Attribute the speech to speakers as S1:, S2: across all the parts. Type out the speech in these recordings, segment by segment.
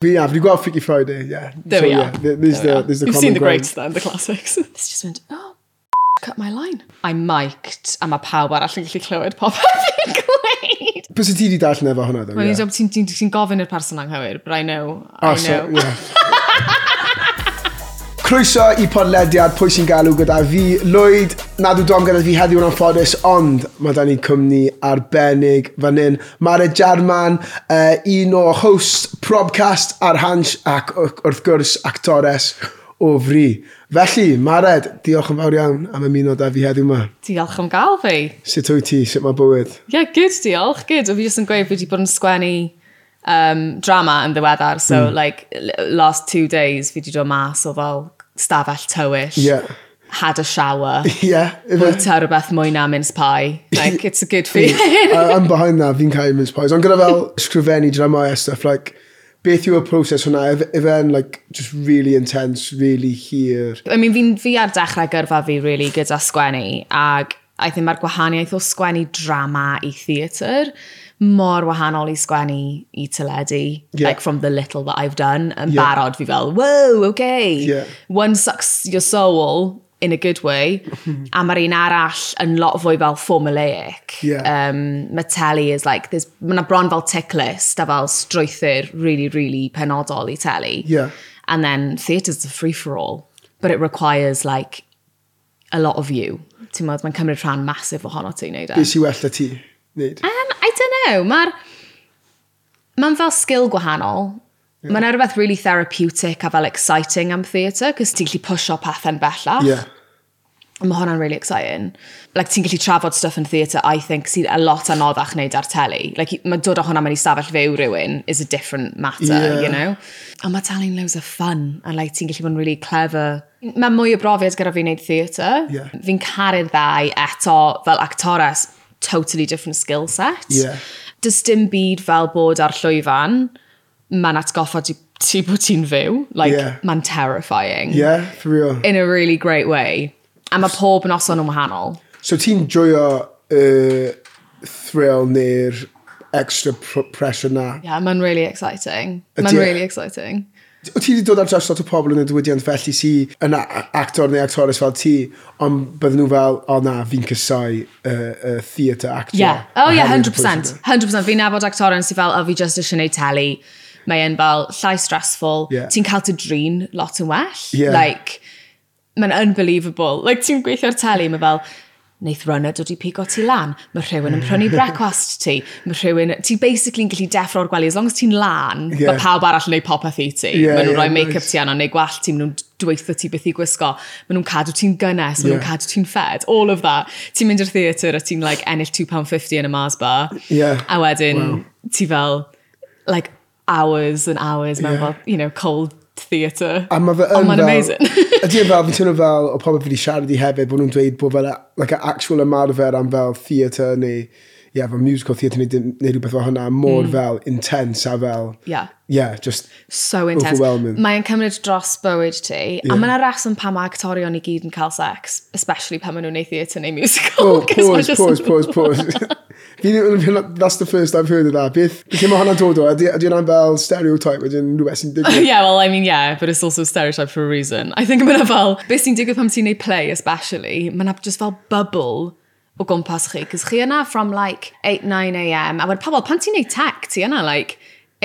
S1: But yeah, if you got Freaky Friday, yeah.
S2: There
S1: so,
S2: we are.
S1: Yeah, th- there's
S2: There
S1: the
S2: we are.
S1: there's the
S2: We've
S1: common
S2: seen the
S1: ground.
S2: greats then, the classics.
S3: This just went, oh, cut my line.
S2: I'm mic'd a mae pawb arall yn gallu clywed popeth fi'n gweud.
S1: Pwy sy'n ti di darllen e efo hwnna, ddo?
S2: Mae'n yeah. ti'n ti, ti gofyn i'r person anghywir, but I know, I know.
S1: Oh, yeah. Croeso i podlediad pwy sy'n galw gyda fi, Lloyd. Nad yw dom gyda fi heddiw yn anffodus, ond mae da ni cwmni arbennig fan hyn. Mae'r Jarman, uh, un o host Probcast ar Hans ac w- wrth gwrs actores o fri. Felly, Mared, diolch yn fawr iawn am ymuno da fi heddiw yma.
S2: Diolch am gael fi.
S1: Sut wyt ti? Sut mae bywyd?
S2: Ie, yeah, good, diolch, good. O fi jyst yn gweud fi wedi bod yn sgwennu um, drama yn ddiweddar, so
S1: Hmm.
S2: mm. like l- last two days fi wedi dod mas o fel stafell tywyll,
S1: Ie.
S2: had a shower,
S1: Ie, ife?
S2: ta rhywbeth mwy na mince pie. Like, it's a good feeling.
S1: I- I'm behind that, fi'n cael mince pies. Ond gyda fel sgrifennu dramau a stuff, like, beth yw y proses hwnna? If- If e'n, like, just really intense, really hir.
S2: I mean, fi'n fi ar dechrau gyrfa fi, really, gyda sgwennu, ac I think mae'r gwahaniaeth o sgwennu drama i theatr mor wahanol i sgwennu i teledu,
S1: Yeah.
S2: like from the little that I've done, yn
S1: Yeah.
S2: barod fi fel, whoa, okay,
S1: Yeah.
S2: one sucks your soul in a good way, a mae'r un arall yn lot fwy fel formulaic.
S1: Yeah.
S2: Um, mae teli is like, there's, mae'na bron fel tick list a fel strwythyr really, really penodol i teli.
S1: Yeah.
S2: And then theatre's a free for all, but it requires like a lot of you. Ti'n modd, mae'n cymryd rhan masif ohono ti wneud e.
S1: Beth sy'n well na ti? Neud.
S2: Um, I don't know, mae'r... Mae'n fel sgil gwahanol. Yeah. Mae'n rhywbeth really therapeutic a fel exciting am theatre, cos ti'n gallu pusho pethau'n bellach.
S1: Yeah.
S2: A Mae hwnna'n really exciting. Like, ti'n gallu trafod stuff yn theatre, I think, sydd a lot anoddach wneud ar teli. Like, i- mae dod o hwnna mewn i stafell fyw rhywun is a different matter,
S1: Yeah.
S2: you know? A mae telling loads of fun, a like, ti'n gallu bod yn really clever. Mae mwy o brofiad gyda fi wneud theatre.
S1: Yeah.
S2: Fi'n caru'r ddau eto fel actores, totally different skill set.
S1: Yeah.
S2: Does dim byd fel bod ar llwyfan, mae'n atgoffa ti, ti bod ti'n fyw. Like,
S1: Yeah.
S2: mae'n terrifying
S1: Yeah, for real.
S2: in a really great way. A mae pob yn oson yn wahanol.
S1: So ti'n joio y thrill neu'r extra pr- pressure na.
S2: Yeah, mae'n really exciting.
S1: Ydy
S2: Mae'n
S1: e?
S2: really exciting.
S1: Wyt ti wedi dod ar draws lot o pobl yn y diwydiant felly sy yn a- actor neu actores fel ti, ond bydden nhw fel, o na, fi'n cysau y y theatre actor.
S2: Yeah. Oh yeah,
S1: oherwydd y pwysau
S2: 100%. 100%. Fi'n nabod actoren sy'n fel, o fi just eisiau gwneud teli. Mae'n fel llai stressful.
S1: Yeah.
S2: Ti'n cael dy drin lot yn well.
S1: Yeah.
S2: Like, mae'n unbelievable. Like, ti'n gweithio'r teli, mae fel, neith runner dod i pigo ti lan. Mae rhywun yn prynu brecwast ti. Mae rhywun... Ti basically yn gallu deffro'r gwely. As long as ti'n lan,
S1: Yeah.
S2: mae pawb arall yn neud popeth i ti.
S1: Yeah,
S2: Yeah, maen nhw'n
S1: yeah,
S2: rhoi make-up
S1: nice.
S2: ti arno, neu gwallt ti, maen nhw'n dweitho ti beth i gwisgo, maen nhw'n cadw ti'n gynnes, maen nhw'n
S1: Yeah.
S2: cadw ti'n fed, all of that. Ti'n mynd i'r theatr a ti'n like, ennill £2.50 yn y Mars bar,
S1: Yeah.
S2: a wedyn ti fel, like, hours and hours mewn
S1: Yeah.
S2: fel, you know, cold theatr.
S1: A mae fe yn
S2: Ond mae'n
S1: fel-
S2: amazing.
S1: Ydy yn fel, fi'n teimlo fel, o pobl fi wedi siarad i hefyd, bod nhw'n dweud bod fel, a- like, a actual ymarfer am fel theatre neu, ie, yeah, fel musical theatre neu, dim- neu rhywbeth fel hwnna, mor mm. fel intense a fel,
S2: yeah.
S1: yeah, just,
S2: so intense.
S1: Overwhelming.
S2: Mae'n cymryd dros bywyd ti, yeah. a mae'n reswm pan mae actorion i gyd yn cael sex, especially pan maen nhw'n neud theatr neu musical.
S1: oh,
S2: 'cause mae
S1: pause,
S2: jyst-
S1: pause, pause, pause. Fi ddim yn that's the first I've heard of that. Beth, beth lle mae hwnna'n dod o? Ydy ydy hwnna'n fel stereotype, ydy'n rhywbeth sy'n digwydd?
S2: yeah, well, I mean, yeah, but it's also a stereotype for a reason. I think mae'n fel, beth sy'n digwydd pan ti'n neud play, especially, mae'n just fel bubble o gwmpas chi, cos chi yna from like 8-9am, a wedyn pobl, pan ti'n neud tech, ti yna like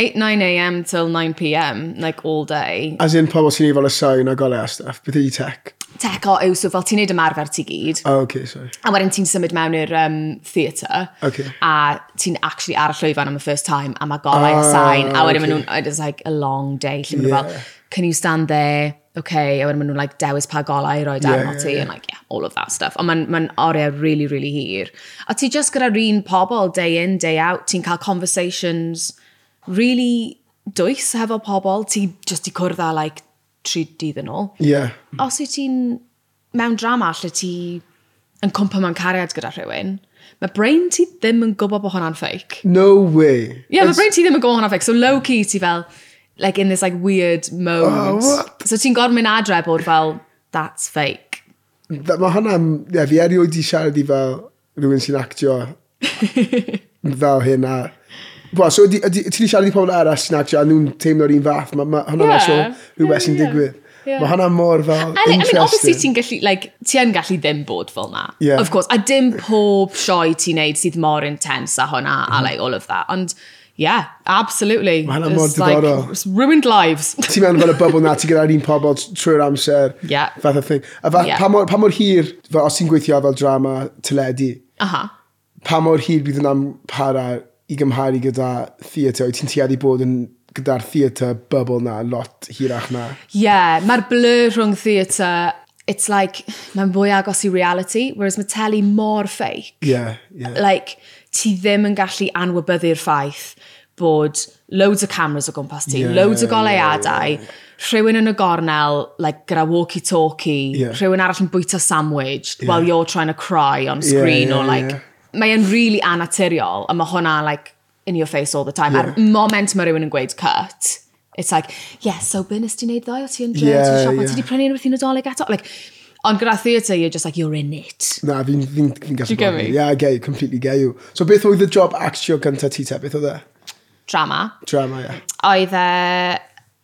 S2: 8-9am till 9pm, like all day.
S1: As in pobl sy'n ei fel y sain a golau a stuff, beth ydi tech?
S2: Tech o yw, so fel ti'n neud ymarfer ti gyd,
S1: Oh, okay, sorry.
S2: a wedyn ti'n symud mewn i'r um, theatre,
S1: Okay.
S2: a ti'n actually ar y llwyfan am y first time, a mae golau y sain, a wedyn maen nhw'n, oh, it's like a long day, lle maen nhw
S1: Ah, Yeah.
S2: fel, can you stand there, okay, a wedyn maen nhw'n like dewis pa golau i roi
S1: Yeah,
S2: down o
S1: yeah,
S2: ti, and like, yeah, all of that stuff. Ond mae'n ma oriau really, really hir. A ti just gyda'r un pobl, day in, day out, ti'n cael conversations really dwys hefo pobl, ti just i cwrdd â like tri dydd yn ôl
S1: Yeah,
S2: os wyt ti'n mewn drama lle ti yn cwmpa mewn cariad gyda rhywyn, mae brain ti ddim yn gwybod bod hwnna'n fake.
S1: no way.
S2: Ie, yeah, mae
S1: It's-
S2: brain ti ddim yn gwybod hwnna'n fake. So low-key ti fel, like in this like weird mode.
S1: Oh, what?
S2: so ti'n gorfod mynd adre bod fel, that's fake.
S1: Da- Mae hwnna, ie, fi erioed i siarad i fel rhywun sy'n actio fel hyn a Wel, so ydy, ydy, ti wedi siarad i pobl arall sy'n actio a nhw'n teimlo'r un fath, mae ma, hwnna'n
S2: Ie.
S1: yeah. so rhywbeth
S2: Ie,
S1: sy'n
S2: ie.
S1: digwydd.
S2: Ie.
S1: Mae hwnna mor fel
S2: I mean, I mean, obviously
S1: interesting.
S2: ti'n gallu, like, ti yn gallu ddim bod fel na.
S1: Ie.
S2: Of course, a dim pob sioe ti'n neud sydd mor intense a hwnna, a like, all of that. Ond, yeah, absolutely.
S1: Mhm. Ma' hwnna'n mor
S2: It's like,
S1: diddorol.
S2: it's ruined lives.
S1: Ti'n meddwl fel y bubl na, ti gyda'r un pobl t- trwy'r amser,
S2: Ie.
S1: fath o thing. A fath,
S2: Ie.
S1: pa, mor, pa mor hir, fel, os ti'n gweithio fel drama teledu,
S2: Aha.
S1: pa mor hir bydd yna'n para i gymharu gyda theatr? Wyt ti'n tueddu bod yn gyda'r theatr bubble na, lot hirach na?
S2: Yeah, mae'r blur rhwng theatre, it's like, mae'n fwy agos i reality, whereas mae teli mor fake.
S1: Ie, yeah, ie. Yeah.
S2: like, ti ddim yn gallu anwybyddu'r ffaith bod loads o cameras o gwmpas ti,
S1: Ie,
S2: loads o
S1: ie,
S2: goleuadau, rhywun yn y gornel, like, gyda walkie-talkie,
S1: Ie.
S2: rhywun arall yn bwyta sandwich while you're trying to cry on screen,
S1: ie,
S2: or like,
S1: ie.
S2: mae e'n really anaturiol, a mae hwnna, like, in your face all the time. A'r moment mae rhywun yn gweud cut, it's like, yeah, so byn ysdi wneud ddoe, o ti yn
S1: Ie,
S2: dread, ti'n siop,
S1: ie.
S2: ond ti wedi prynu unrhyw thing nadolig eto? Like, ond gyda theatre, you're just like, you're in it.
S1: Na, fi'n fi fi gallu
S2: you get
S1: bod yn-
S2: me?
S1: Ie, gei, completely gei yw. So beth oedd y job actio gyntaf ti te? Beth oedd e?
S2: Drama.
S1: Drama, ie.
S2: oedd e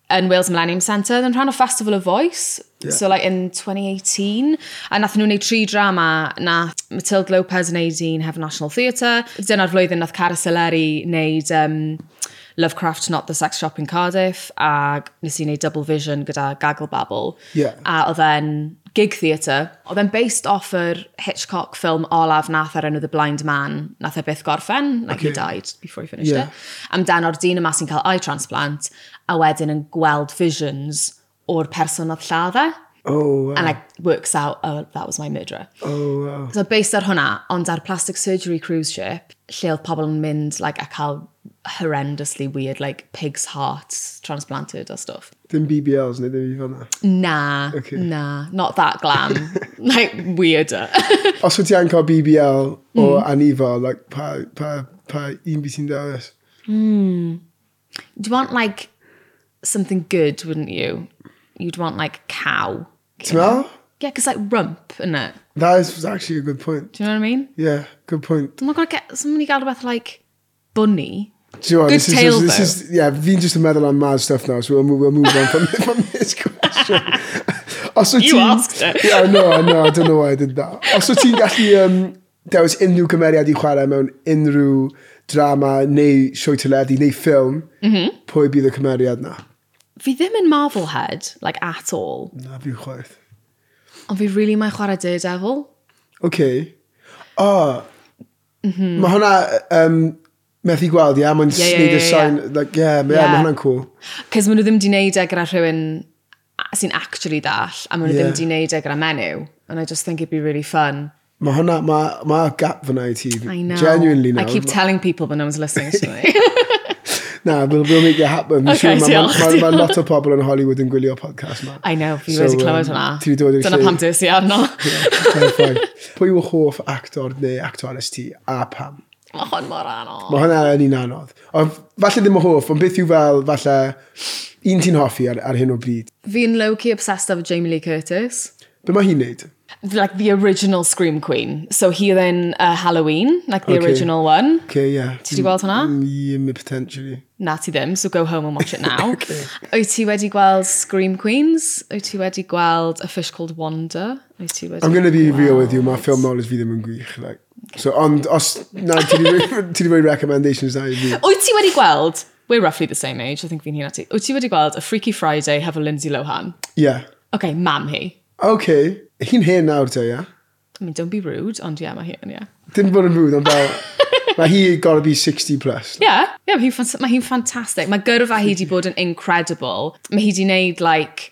S2: yn Wales Millennium Centre yn rhan o Festival of Voice.
S1: Ie.
S2: So like in 2018. A nath nhw wneud tri drama na Matilda Lopez yn neud un Heaven National Theatre. Dyna'r flwyddyn nath Cara Soleri wneud um, Lovecraft Not the Sex Shop in Cardiff a nes i wneud Double Vision gyda Gaggle Babble.
S1: Ie.
S2: A oedd e'n gig theatre. Oedd e'n based off yr Hitchcock film Olaf nath ar enw The Blind Man. Nath e byth gorffen. Like he
S1: Ocê.
S2: died before he finished
S1: Ie.
S2: it amdano'r dyn yma sy'n cael eye transplant a wedyn yn gweld visions o'r person oedd lladda.
S1: Oh,
S2: And
S1: wow.
S2: like works out, oh, that was my murderer.
S1: Oh, wow.
S2: So based ar hwnna, ond ar plastic surgery cruise ship, lle oedd pobl yn mynd like, a cael horrendously weird, like pig's hearts transplanted a stuff.
S1: Dim BBLs neu ddim i fanna.
S2: Nah,
S1: Okay.
S2: nah, not that glam. like, weirder.
S1: Os wyt ti yn cael BBL o
S2: Mm.
S1: anifol, like, pa, pa, pa un byd ti'n dewis?
S2: Do you want like something good, wouldn't you? You'd want like cow.
S1: Ti'n meddwl?
S2: Yeah, because like rump, innit?
S1: That is actually a good point.
S2: Do you know what I mean?
S1: Yeah, good point.
S2: I'm not gonna get somebody gael rhywbeth like bunny.
S1: Do you know what,
S2: Good
S1: this
S2: tale,
S1: is, this is, yeah, fi'n just yn meddwl am mad stuff now, so we'll, move- we'll move on from, from this question. Os wyt
S2: You
S1: ti'n-
S2: asked it.
S1: Yeah, I know, I know, I don't know why I did that. Os wyt ti'n gallu um, dewis unrhyw gymeriad i chwarae mewn unrhyw drama neu sioe teledu neu ffilm,
S2: Mhm.
S1: pwy bydd y cymeriad na?
S2: Fi ddim yn Marvelhead, like at all.
S1: Na, fi'n chwaith.
S2: Ond fi really mae chwarae Daredevil.
S1: Okay. O. Mae hwnna um, methu gweld, ia? Mae'n
S2: Mhm. Ie,
S1: sneud y
S2: ie, ie, ie.
S1: sain. Like, yeah, yeah.
S2: Ie.
S1: mae hwnna'n cool.
S2: Cys maen nhw ddim di wneud e gyda rhywun a- sy'n actually dall, a maen nhw
S1: Ie.
S2: ddim di wneud e gyda menyw. And I just think it'd be really fun.
S1: Mae hwnna, mae ma gap fyna i ti.
S2: I know.
S1: Genuinely now.
S2: I keep telling people but no one's listening to me.
S1: Na, we'll, we'll make it happen. Dwi'n
S2: Okay,
S1: siŵr ma-
S2: diolch,
S1: ma- ma- ma
S2: diolch.
S1: lot o pobl yn Hollywood yn gwylio podcast ma.
S2: I know, fi
S1: So,
S2: wedi clywed
S1: um,
S2: hwnna.
S1: ti 'di dod i'r
S2: Dyna
S1: lle.
S2: pam dys i arno.
S1: Terrifying. Pwy yw hoff actor neu actores ti a pam?
S2: Mae hwn mor anodd.
S1: Mae hwnna yn un anodd. Ond falle ddim y hoff, ond beth yw fel, falle, un ti'n hoffi ar, ar hyn o bryd.
S2: Fi'n low-key obsessed efo Jamie Lee Curtis.
S1: Be mae hi'n neud?
S2: like the original Scream Queen. So he then uh, Halloween, like the
S1: Okay.
S2: original one.
S1: Okay, yeah.
S2: Ti 'di gweld hwnna?
S1: Mm, Ie, mi potentially.
S2: Na ti ddim, so go home and watch it now. Wyt ti wedi gweld Scream Queens? Wyt ti wedi gweld A Fish Called Wanda? Wyt ti wedi
S1: I'm going to be real with you,
S2: gweld-
S1: mae film knowledge fi ddim yn gwych. Like. So, ond, os, na, ti 'di roi- ti di roi recommendations na i fi.
S2: Wyt ti wedi gweld... We're roughly the same age, I think fi'n hyn ati. Wyt ti wedi gweld A Freaky Friday hefo Lindsay Lohan?
S1: Yeah.
S2: Okay, mam hi.
S1: Okay. Hi'n hen nawr te, yeah?
S2: I mean, don't be rude, ond yeah, mae hi yn, yeah.
S1: Dim bod yn rude, ond fel, mae hi gotta be 60 plus.
S2: Yeah, yeah, mae hi'n ffant- mae hi'n ffantastig. Mae gyrfa hi wedi bod yn incredible. Mae hi wedi wneud, like,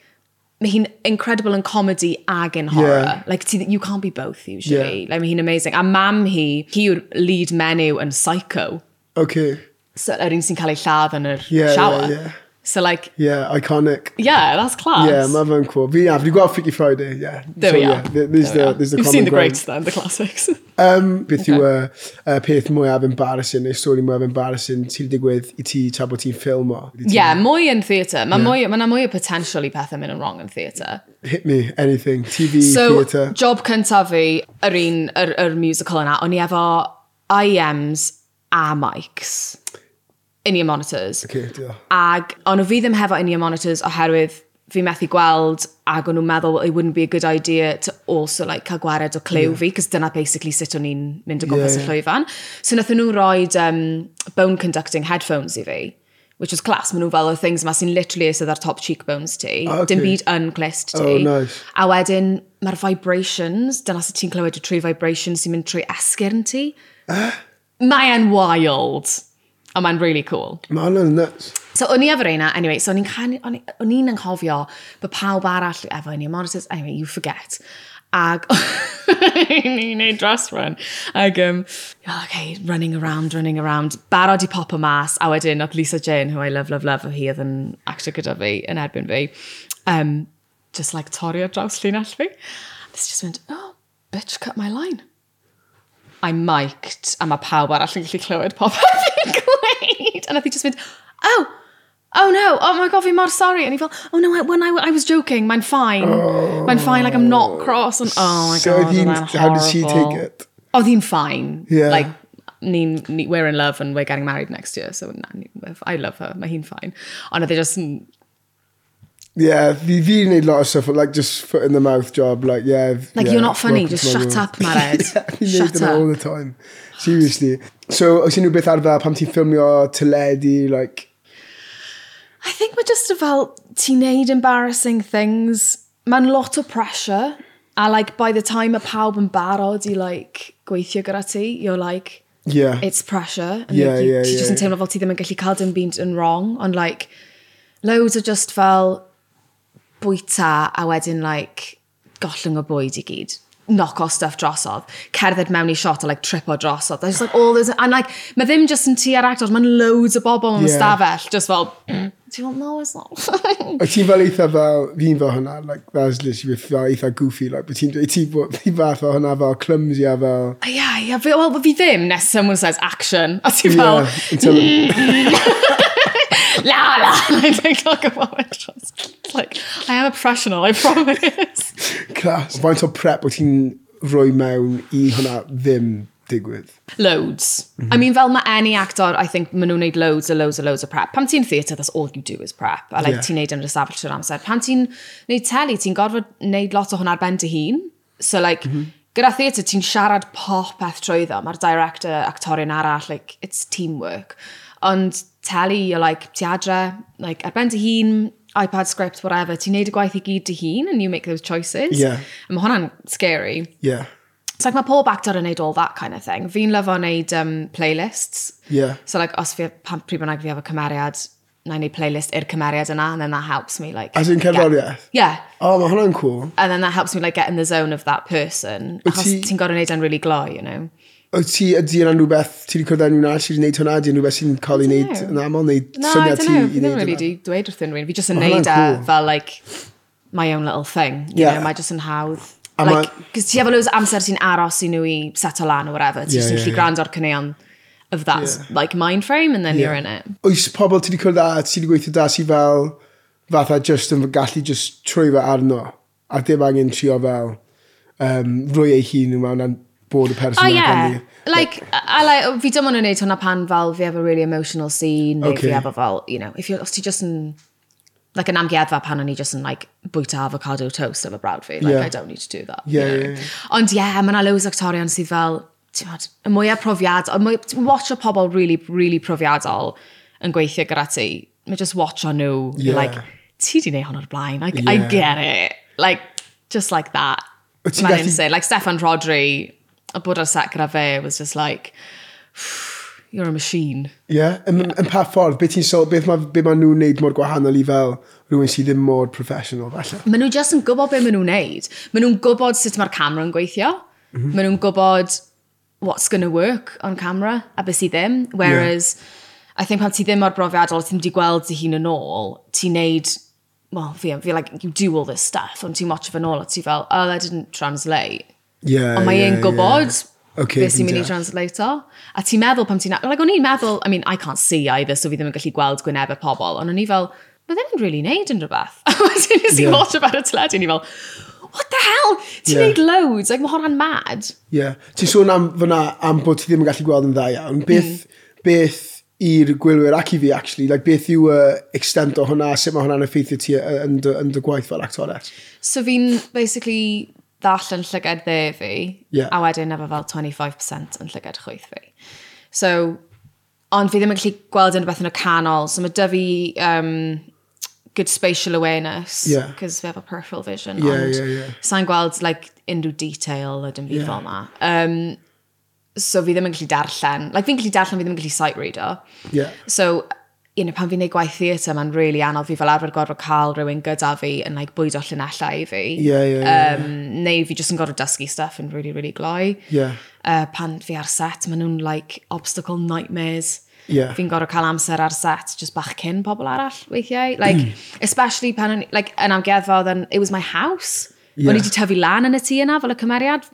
S2: mae hi'n incredible yn comedy ag yn horror.
S1: Yeah.
S2: Like, ti, you can't be both, usually.
S1: Yeah.
S2: Like, mae hi'n amazing. A mam hi, hi yw'r lead menyw yn Psycho.
S1: Okay.
S2: So, yr un sy'n cael ei lladd yn yr
S1: Yeah,
S2: shower.
S1: yeah, yeah.
S2: So, like,
S1: Yeah, iconic.
S2: yeah, that's class.
S1: Yeah, mae fe'n cool. Fi, yeah, fi 'di gweld Freaky Friday, yeah.
S2: There
S1: so,
S2: we are.
S1: Yeah, th- there's
S2: There we
S1: the,
S2: are.
S1: there's the
S2: You've
S1: common
S2: seen the
S1: ground.
S2: greats then, the classics.
S1: Um, beth yw y y peth mwyaf embarrassing, neu stori mwyaf embarrassing sy'n digwydd i ti tra bod ti'n ffilmo? Ydi ti-
S2: yeah, mwy yn theatre. Mae yeah. mwy, ma mwy o potential i pethau mynd yn wrong yn theatre.
S1: Hit me, anything. TV,
S2: so,
S1: theatre.
S2: job cyntaf fi, yr un, yr, yr musical yna, o'n i efo IMs a mics. in-ear monitors.
S1: Okay, diolch.
S2: Ag, ond fi ddim hefo in-ear monitors oherwydd fi methu gweld ag o'n nhw'n meddwl well, it wouldn't be a good idea to also like cael gwared o clew fi, cos dyna basically sut o'n i'n mynd o gwmpas
S1: Ie,
S2: y
S1: ie.
S2: llwyfan. So nath nhw roed um, bone conducting headphones i fi, which was class. Maen nhw fel o things yma sy'n literally eistedd ar top cheekbones ti.
S1: Ah,
S2: Dim
S1: ocê.
S2: byd yn glist ti.
S1: Oh, nice.
S2: A wedyn, mae'r vibrations, dyna sy'n ti'n clywed y trwy vibrations sy'n mynd trwy esgyrn ti.
S1: Eh?
S2: Mae e'n wild, ond mae'n really cool.
S1: Mae hwnna'n nuts.
S2: So o'n i efo reina, anyway, so o'n i'n canu- o'n i- o'n i'n anghofio bod pawb arall efo yn monitors, anyway, you forget. Ag o'n i'n neud dros run. Ag, um, oh, okay, running around, running around. Barod i pop o mas, a wedyn oedd Lisa Jane, who I love, love, love, o hi oedd yn actio gyda fi, yn erbyn fi, um, just like torri ar draws llinell fi.
S3: This just went, oh, bitch cut my line.
S2: I'm mic'd, a mae pawb arall yn gallu clywed popeth fi'n gweud. A nath i just mynd, oh, oh no, oh my god, fi mor sorry. And he fel, oh no, I- when I, I was joking, mae'n fine. Mae'n fine, like I'm not cross. And, oh my
S1: So
S2: god,
S1: oedd hi'n-
S2: oedd e'n
S1: how did she
S2: horrible.
S1: take it?
S2: Oedd hi'n fine.
S1: Yeah.
S2: Like, ni'n, ni, we're in love and we're getting married next year, so na, ni, I love her, mae hi'n fine. Ond oedd e just yn
S1: Yeah, fi fi wneud lot of stuff, like just foot in the mouth job, like yeah.
S2: Like,
S1: yeah,
S2: you're not funny,
S1: welcome
S2: just
S1: to my
S2: shut
S1: world.
S2: up, Mared.
S1: yeah, fi'n
S2: Shut
S1: neud yna
S2: up.
S1: all the time. Seriously. So, oes unrhyw beth arfer pam ti'n ffilmio teledu, like,
S2: I think we're just about ti'n neud embarrassing things. Mae'n lot o pressure. A like, by the time y pawb yn barod i like, gweithio gyda ti, you're like,
S1: yeah.
S2: it's pressure. And
S1: Yeah,
S2: you,
S1: yeah,
S2: ti
S1: yeah,
S2: just yn
S1: yeah.
S2: teimlo fel ti ddim yn gallu cael dim byd yn wrong, ond like, loads o just fel bwyta a wedyn like, gollwng o bwyd i gyd knock off stuff drosodd, cerdded mewn i shot a like trip o drosodd. There's like all this, and like, mae ddim just yn ti ar actor, mae'n loads o bobl yn
S1: Yeah.
S2: yeah. stafell, just fel, do you want no, it's not fine.
S1: Oes ti'n fel eitha fel, fi'n fel hwnna, like, that's literally fel eitha goofy, like, but ti'n dweud, ti'n bod, ti'n fath fel hwnna fel clumsy a fel,
S2: Ia, ia, fi, well, fi ddim nes someone says action, a ti fel,
S1: yeah, until,
S2: la la, like, like, talk about it, just, like, I am a professional, I promise.
S1: class. Faint o prep o ti'n rhoi mewn i hwnna ddim digwydd?
S2: Loads.
S1: Mhm.
S2: I mean, fel mae any actor, I think maen nhw'n neud loads a loads a loads o prep. Pam ti'n theatre, that's all you do is prep. A like,
S1: Yeah.
S2: yeah. ti'n neud e yn yr ystafell trwy'r amser. Pam ti'n neud teli, ti'n gorfod neud lot o hwnna ar ben dy hun. So, like, mm
S1: Mhm.
S2: -hmm. gyda theatre, ti'n siarad popeth trwyddo. Mae'r director, actorion arall, like, it's teamwork. Ond teli, you're like, ti adre, like, ar ben dy hun, iPad script, whatever, ti'n neud y gwaith i gyd dy hun, and you make those choices.
S1: Yeah.
S2: A mae hwnna'n scary.
S1: Yeah,
S2: It's like mae pob actor yn neud all that kind of thing. Fi'n lyfo neud um, playlists.
S1: yeah.
S2: So like, os fi, pan pryd bynnag fi efo cymeriad, na i neud playlist i'r cymeriad yna, and then that helps me like...
S1: As in
S2: get-
S1: cerddoriaeth?
S2: Yeah.
S1: Oh, mae hwnna'n cool.
S2: And then that helps me like get in the zone of that person.
S1: Wyt
S2: Achos
S1: ti-
S2: ti'n gorau neud yn really gloi, you know.
S1: Wyt ti, ydy yna rhywbeth, ti wedi cwrdd â nhw'n arall sydd wedi gwneud hwnna, ydy yna rhywbeth sy'n cael ei wneud
S2: dunno.
S1: yn aml, neu
S2: No, I
S1: syniad
S2: don't
S1: ti i
S2: know. Fi ddim
S1: wneud
S2: really
S1: hwnna?
S2: di dweud wrth unrhyw un. Fi just yn
S1: Ma' hwnna'n
S2: neud e
S1: cool.
S2: fel like my own little thing. You
S1: Yeah.
S2: know, mae just yn hawdd.
S1: A ma-
S2: Like, cos ti efo loads o amser ti'n aros i nhw i seto lan o whatever. Ti
S1: Yeah,
S2: just yn
S1: yeah,
S2: gallu
S1: yeah.
S2: gwrando ar caneuon of that
S1: Yeah.
S2: like mind frame and then you're in it.
S1: Oes pobl ti wedi cwrdd â, ti wedi gweithio da sydd fel, fatha just yn gallu just trwy fe arno, a dim angen trio fel, um, rwy ei hun yw mewn a'n bod y person
S2: Oh
S1: yna
S2: yeah,
S1: fyny.
S2: like, I like, fi dim ond yn neud hwnna pan fel fi efo really emotional scene, neu
S1: Okay.
S2: fi efo fel, you know, if you're, os ti just yn, like yn amgueddfa pan o'n i just yn like, bwyta avocado toast efo brawd fi, like,
S1: Yeah.
S2: I don't need to do that.
S1: Yeah,
S2: you know?
S1: yeah, yeah.
S2: Ond yeah, mae yna loads o actorion sydd fel, ti'n modd, y mwyaf profiad, y mwy, ti'n watch o pobl really, really profiadol yn gweithio gyda ti, mae just watch o nhw,
S1: Yeah.
S2: you're like, ti di neud hwn o'r blaen, like, I
S1: Yeah.
S2: get it, like, just like that.
S1: Wyt ti'n
S2: Mae'n
S1: gallu-
S2: insane. Like, Stefan Rodri, a bod ar set gyda fe, was just like, you're a machine.
S1: Yeah, yn, yn pa ffordd, beth ti'n sôn, beth mae be ma nhw'n neud mor gwahanol i fel rhywun sydd ddim mor professional falle.
S2: Maen nhw just yn gwybod be maen nhw'n neud. Maen nhw'n gwybod sut mae'r camera yn gweithio. Mm
S1: Mhm.
S2: -hmm. Maen nhw'n gwybod what's going to work on camera a beth sydd ddim. Whereas, yeah. I think pan ti ddim o'r brofiadol, ti'n wedi gweld dy hun yn ôl, ti'n neud, well, fi, fi like, you do all this stuff, ond ti'n watch of yn ôl, a ti fel, oh, that didn't translate.
S1: Yeah,
S2: Ond mae
S1: yeah,
S2: e'n gwybod
S1: yeah. Okay,
S2: beth sy'n mynd i
S1: fi'n deall.
S2: translator. A ti'n meddwl pam ti'n... Like, o'n i'n meddwl, I mean, I can't see either, so fi ddim yn gallu gweld gwynebau pobl, ond o'n i fel, mae ddim yn really neud yn rhywbeth. A wedyn nes i
S1: Yeah.
S2: watch about y teledu, o'n i fel, what the hell? Ti'n
S1: Yeah.
S2: neud loads, like, mae hwnna'n mad.
S1: Yeah. Ti'n sôn am fyna am bod ti ddim yn gallu gweld yn dda iawn. Beth, mm. beth i'r gwylwyr ac i fi, actually. Like, beth yw y uh, extent o hwnna, sut mae hwnna'n effeithio ti yy, yn dy, yn dy gwaith fel actores?
S2: So fi'n basically ddall yn llygad dde fi,
S1: Ie.
S2: a wedyn efo fel 25% yn llygad chwyth fi. So, ond fi ddim yn gallu gweld unrhyw beth yn y canol, so mae dy fi um, good spatial awareness,
S1: Ie.
S2: cos fi efo peripheral vision,
S1: Ie,
S2: ond
S1: ie, ie.
S2: sa'n gweld like, unrhyw detail a dim byd
S1: Ie.
S2: fel ma. Um, so fi ddim yn gallu darllen, like fi'n gallu darllen, fi ddim yn gallu sight reader.
S1: Yeah.
S2: So, you know, pan fi'n neud gwaith theatr, mae'n really anodd fi fel arfer gorfod cael rhywun gyda fi yn like, bwydo llunellau i fi.
S1: Ie, ie, ie, ie.
S2: Um, neu fi jyst yn gorfod dysgu stuff yn really, really gloi.
S1: Yeah.
S2: Uh, pan fi ar set, maen nhw'n like obstacle nightmares.
S1: Ie.
S2: Fi'n gorfod cael amser ar set just bach cyn pobl arall weithiau. Like, especially pan o'n i- like, yn amgueddfa, oedd yn- it was my house.
S1: Ie.
S2: Yeah. O'n i wedi tyfu lan yn y tŷ yna fel y cymeriad.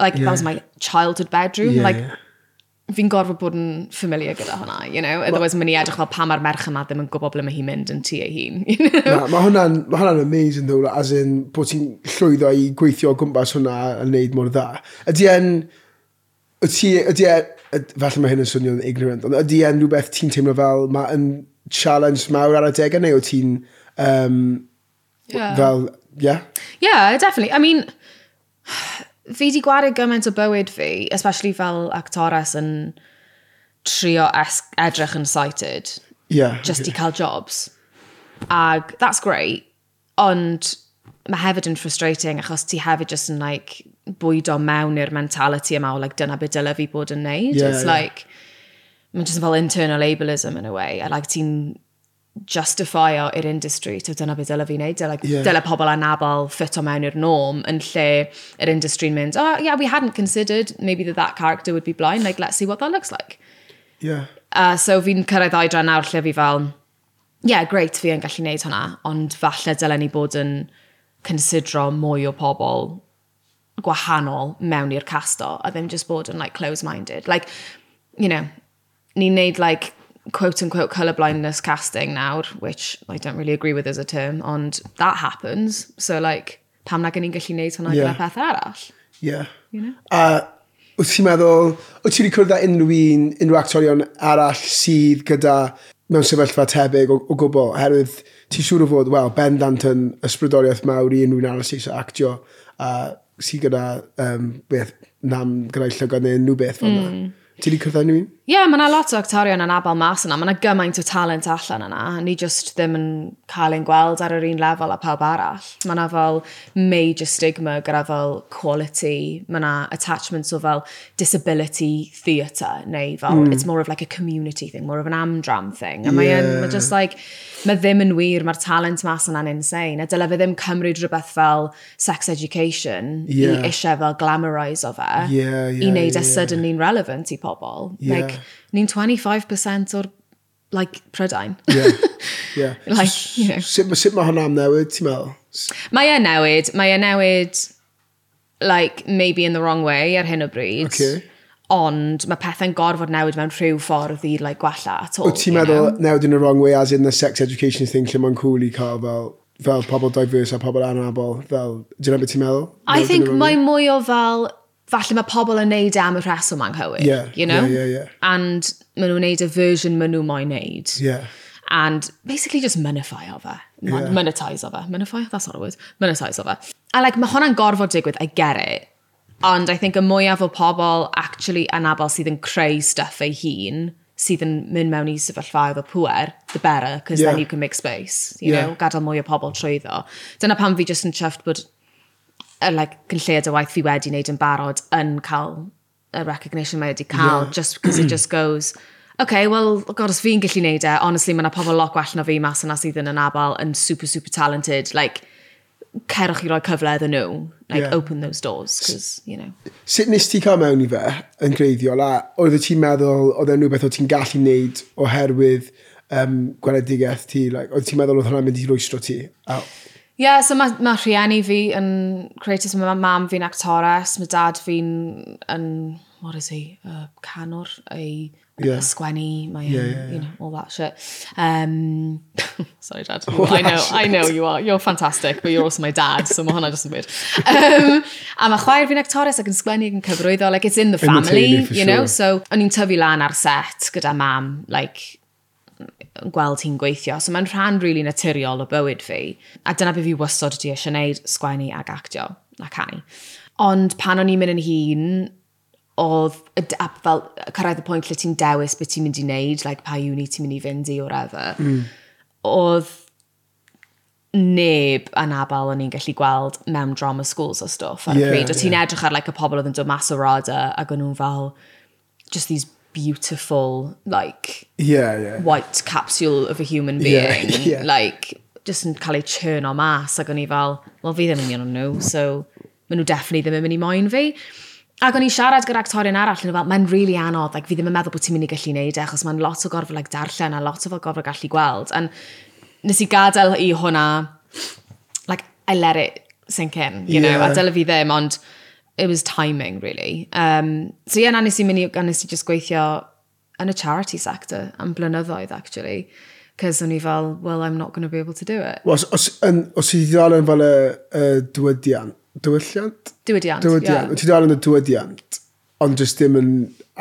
S2: Like,
S1: Ie.
S2: that was my childhood bedroom.
S1: Ie,
S2: like,
S1: ie.
S2: fi'n gorfod bod yn familiar gyda hwnna, you know? Otherwise, well, mynd i edrych fel pa mae'r merch yma ddim yn gwybod ble mae hi'n mynd yn tu ei hun, you know?
S1: Na, mae hwnna'n ma hwnna amazing though, as in bod ti'n llwyddo i gweithio o gwmpas hwnna a wneud mor dda. Ydy en, ydy ydy en, yd- e, falle mae hyn yn swnio'n ignorant, ond ydy en rhywbeth ti'n teimlo fel mae yn challenge mawr ar y degau neu o ti'n um,
S2: Yeah.
S1: fel, yeah?
S2: Yeah, definitely. I mean, fi di gwario gymaint o bywyd fi, especially fel actores yn trio es- edrych yn sighted,
S1: Yeah.
S2: just i
S1: okay.
S2: cael jobs. Ag, that's great, ond mae hefyd yn frustrating achos ti hefyd just yn like bwydo mewn i'r mentality yma o like dyna beth dyle fi bod yn neud.
S1: Yeah,
S2: It's
S1: yeah.
S2: like, mae'n just fel internal ableism in a way. A like ti'n justifio i'r industry, so dyna beth dyle fi wneud, dyle,
S1: Yeah.
S2: yeah. dyle pobl anabol ffit o mewn i'r norm yn lle yr industry'n mynd, oh yeah, we hadn't considered maybe that that character would be blind, like let's see what that looks like.
S1: Yeah.
S2: Uh, so fi'n cyrraedd oedran nawr lle fi fel, yeah, great, fi yn gallu neud hwnna, ond falle dylen ni bod yn considero mwy o pobl gwahanol mewn i'r casto, a ddim just bod yn, like, close-minded. Like, you know, ni'n neud, like, quote-unquote colour blindness casting nawr, which I don't really agree with as a term, ond that happens. So, like, pam na gen i'n gallu neud hwnna
S1: Yeah.
S2: yeah. gyda peth arall?
S1: Yeah. You
S2: know?
S1: A wyt ti'n meddwl, wyt ti wedi cwrdd â unrhyw un, unrhyw actorion arall sydd gyda mewn sefyllfa tebyg o, o gwbl, herwydd ti'n siŵr o fod, wel, Ben Danton, ysbrydoliaeth mawr i unrhyw un arall sy'n actio, a sydd gyda um, beth, nam gyda'i llygad neu unrhyw beth fel yna. Mm. Ti wedi cwrdd â unrhyw un?
S2: Ie, yeah, mae yna lot o actorion yn abel mas yna. Mae yna gymaint o talent allan yna. Ni just ddim yn cael ein gweld ar yr un lefel a pawb arall. Mae yna fel major stigma gyda fel quality. Mae yna attachments o fel disability theatre neu fel
S1: Hmm.
S2: it's more of like a community thing, more of an amdram thing. A mae yn,
S1: Ie.
S2: mae just like, mae ddim yn wir, mae'r talent mas yna'n insane. A dyle fe ddim cymryd rhywbeth fel sex education
S1: Ie.
S2: i eisiau fel glamorise o fe
S1: Ie, ie,
S2: i wneud
S1: ie,
S2: e
S1: ie.
S2: suddenly'n relevant i pobl.
S1: Ie.
S2: Like, ni'n 25% o'r like, prydain.
S1: Yeah. yeah.
S2: like, you know.
S1: Sut, ma- sut mae hwnna am newid, ti'n meddwl? S-
S2: Mae e newid, mae e newid, like, maybe in the wrong way ar hyn o bryd.
S1: Ocê.
S2: Ond mae pethau'n gorfod newid mewn rhyw ffordd i like, gwella at all.
S1: Wyt ti'n
S2: you
S1: meddwl
S2: know?
S1: newid in the wrong way as in the sex education thing lle mae'n cool i cael fel, fel pobl diverse a pobl anabol fel, dyna beth ti'n meddwl?
S2: I
S1: Newid in
S2: think
S1: the wrong way?
S2: mae mwy o fel, falle mae pobl yn neud e am y rheswm anghywir.
S1: Ie,
S2: you know?
S1: ie, ie, ie.
S2: And maen nhw'n neud y version maen nhw moyn neud.
S1: Yeah.
S2: and basically just monify o fe. Mon-
S1: Yeah.
S2: Monetise o fe. Monify? That's not a word. Monetise o fe. A like, mae hwnna'n gorfod digwydd, I get it. Ond I think y mwyaf o pobl actually anabol sydd yn creu stuff ei hun, sydd yn mynd mewn i sefyllfa efo pwer, the better, because
S1: Yeah.
S2: then you can make space. You
S1: Yeah.
S2: know, gadael mwy o pobl trwyddo. Dyna pam fi just yn chuffed bod y like, cynlleid o waith fi wedi wneud yn barod yn cael y recognition mae wedi cael,
S1: Yeah.
S2: just because it just goes, okay, well, god, os fi'n gallu neud e, honestly, mae yna pobl lot gwell na fi mas yna sydd yn anabal, yn super, super talented, like, cerwch i roi cyfle iddyn nhw, like,
S1: Yeah.
S2: yeah. open those doors, because, you know.
S1: Sut nes ti cael mewn i fe yn greiddiol a oedd ti'n meddwl oedd e'n rhywbeth oedd ti'n gallu neud oherwydd um, gweledigaeth ti? Like, oedd ti'n meddwl oedd hwnna'n mynd i rwystro ti? A,
S2: Yeah, so mae ma rhieni fi yn creators, mae mam fi'n actores, mae dad fi'n yn what is he, a canwr, a,
S1: Yeah.
S2: a sgwennu, mae
S1: Yeah,
S2: um,
S1: yeah,
S2: you know, all that shit. Um, sorry, Dad.
S1: All
S2: I know,
S1: that
S2: I know you are. You're fantastic, but you're also my dad, so mae hwnna just yn weird. Um, a mae chwaer fi'n actores ac yn sgwennu ac yn cyfrwyddo, like, it's in
S1: In
S2: the
S1: the
S2: family,
S1: teulu, for
S2: you know?
S1: sure.
S2: So, o'n i'n tyfu lan ar set gyda mam, like, yn gweld hi'n gweithio. So mae'n rhan rili really naturiol o bywyd fi. A dyna beth fi wastod wedi eisiau gwneud, sgwennu ac actio a canu. Ond pan o'n i'n mynd yn hun, oedd y d- a fel cyrraedd y pwynt lle ti'n dewis beth ti'n mynd i wneud, like pa uni ti'n mynd i fynd i o'r efer, mm. oedd neb anabal o'n i'n gallu gweld mewn drama schools o stwff ar
S1: Yeah,
S2: y pryd. O ti'n edrych ar like, y pobl oedd yn dod mas o rada ac o'n nhw'n fel just these beautiful, like,
S1: Yeah, yeah.
S2: white capsule of a human being.
S1: Yeah, yeah.
S2: Like, just yn cael ei churn o mas. Ac o'n i fel, well, fi ddim yn un o'n nhw, so maen nhw definitely ddim yn mynd i moyn fi. Ac o'n i siarad gyda actorion arall, yn fel, mae'n really anodd, like, fi ddim yn meddwl bod ti'n mynd i gallu neud e, achos mae'n lot o gorfod like, darllen a lot o fel gorfod gallu gweld. And nes i gadael i hwnna, like, I let it sink in, you know,
S1: Yeah.
S2: a dyle fi ddim, ond it was timing, really. Um, so ie, yeah, na nes i mynd i, a nes i just gweithio yn y charity sector am blynyddoedd, actually. Cos o'n i fel, well, I'm not going to be able to do it.
S1: Wel, os- os, yn, os i ddal yn fel y, y dywydiant, dywylliant?
S2: Diwydiant,
S1: Dywydiant.
S2: e yeah.
S1: Ti ddal yn y dywydiant, ond jyst ddim yn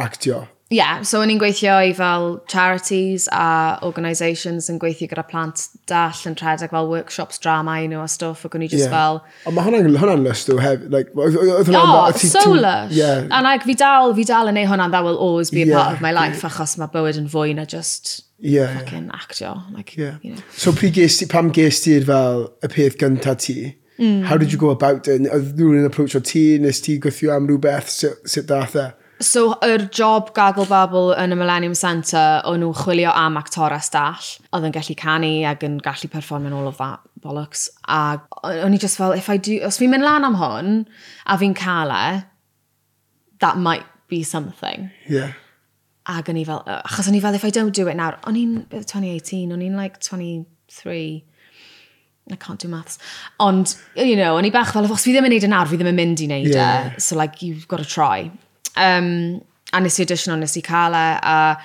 S1: actio.
S2: Yeah, so o'n i'n gweithio i fel charities a organisations yn gweithio gyda plant dall yn rhedeg fel workshops drama, you know, a stuff, ac o'n i just yeah. fel,
S1: Ond mae hwnna'n hwnna lystw hefyd. Like, oedd- oedd- oedd hwnna'n-
S2: Oh,
S1: oedd ti-
S2: so
S1: ti-
S2: lush.
S1: Yeah.
S2: And like, fi dal, fi dal yn ei hwnna, and that will always be a
S1: Yeah.
S2: part of my life, achos mae bywyd yn fwy na just
S1: Yeah, yeah.
S2: fucking actio. Like,
S1: Yeah.
S2: you know.
S1: So pryd ges ti, pam ges ti'r fel y peth gyntaf ti? Mm. How did you go about it? Oedd rhywun yn approach o ti, nes ti gwythio am rhywbeth, sut, sut dath e?
S2: So, yr job gaggle babble yn y Millennium Centre, o'n nhw'n chwilio am actora stall, oedd yn gallu canu ac yn gallu perform in all of that bollocks. A o'n i just fel, if I do, os fi'n mynd lan am hwn, a fi'n cael e, that might be something.
S1: Yeah.
S2: Ac o'n i fel, "Ugh," achos o'n i fel, if I don't do it now, o'n i'n, beth, 2018, o'n i'n like 23, I can't do maths. Ond, you know, o'n i bach fel, os fi ddim yn neud yn nawr, fi ddim yn mynd i neud
S1: Yeah.
S2: e. So, like, you've got to try. Um, a nes i audition o, nes i cael e, a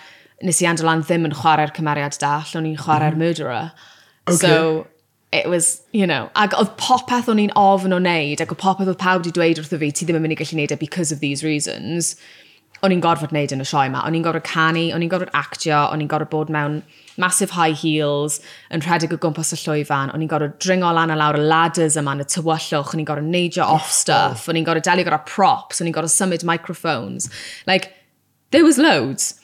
S2: nes i Andolan ddim yn chwarae'r cymeriad dall, o'n i'n chwarae'r murderer. So, it was, you know, ac oedd popeth o'n i'n ofn o wneud, ac oedd popeth oedd pawb wedi dweud wrtho fi, ti ddim yn mynd i gallu wneud e because of these reasons, o'n i'n gorfod wneud yn y sioe yma. O'n i'n gorfod canu, o'n i'n gorfod actio, o'n i'n gorfod bod mewn massive high heels, yn rhedeg o gwmpas y llwyfan, o'n i'n gorfod dringo lan a lawr y ladders yma yn y tywyllwch, o'n i'n gorfod neidio off stuff, o'n i'n gorfod delio gyda props, o'n i'n gorfod symud microphones. Like, there was loads.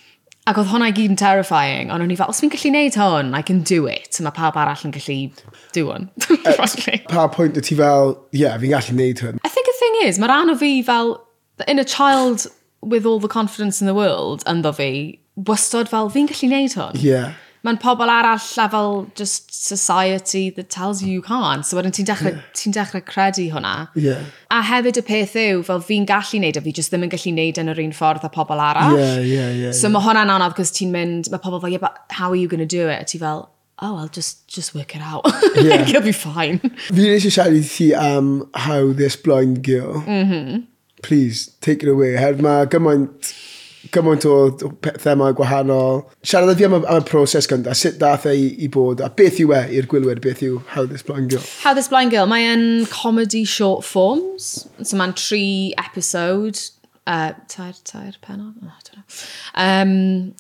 S2: Ac oedd hwnna i gyd yn terrifying, ond o'n i fel, os fi'n gallu neud hwn, I can do it. Mae pawb arall yn gallu do hwn, frankly.
S1: Pa pwynt y ti fel, yeah, fi'n gallu neud hwn.
S2: I think the thing is, mae rhan o fi fel, in a child with all the confidence in the world, ynddo fi, wastod fel, fi'n gallu neud hwn.
S1: Yeah.
S2: Mae'n pobl arall a fel just society that tells you you can't. So wedyn ti'n dechrau, ti'n dechrau credu hwnna.
S1: Yeah.
S2: A hefyd y peth yw, fel fi'n gallu neud a fi just ddim yn gallu neud e yn yr un ffordd a pobl arall.
S1: Yeah, yeah, yeah.
S2: So mae hwnna'n anodd, cos ti'n mynd, mae pobl fel, yeah, but how are you going to do it? A ti fel, oh, I'll just, just work it out.
S1: Yeah.
S2: like, you'll be fine.
S1: Fi eisiau siarad i ti am um, How This Blind Girl. Mm
S2: Mm-hmm.
S1: -hmm. Please, take it away. Her mae gymaint, gymaint o pe- themau gwahanol. Siarad â fi am y, am y proses gyntaf, sut dath e i, i bod, a beth yw e i'r gwylwyr, beth yw How This Blind Girl.
S2: How This Blind Girl, mae yn comedy short forms. So mae'n tri episode. Uh, tair, tair penod? Oh, I don't know. Um,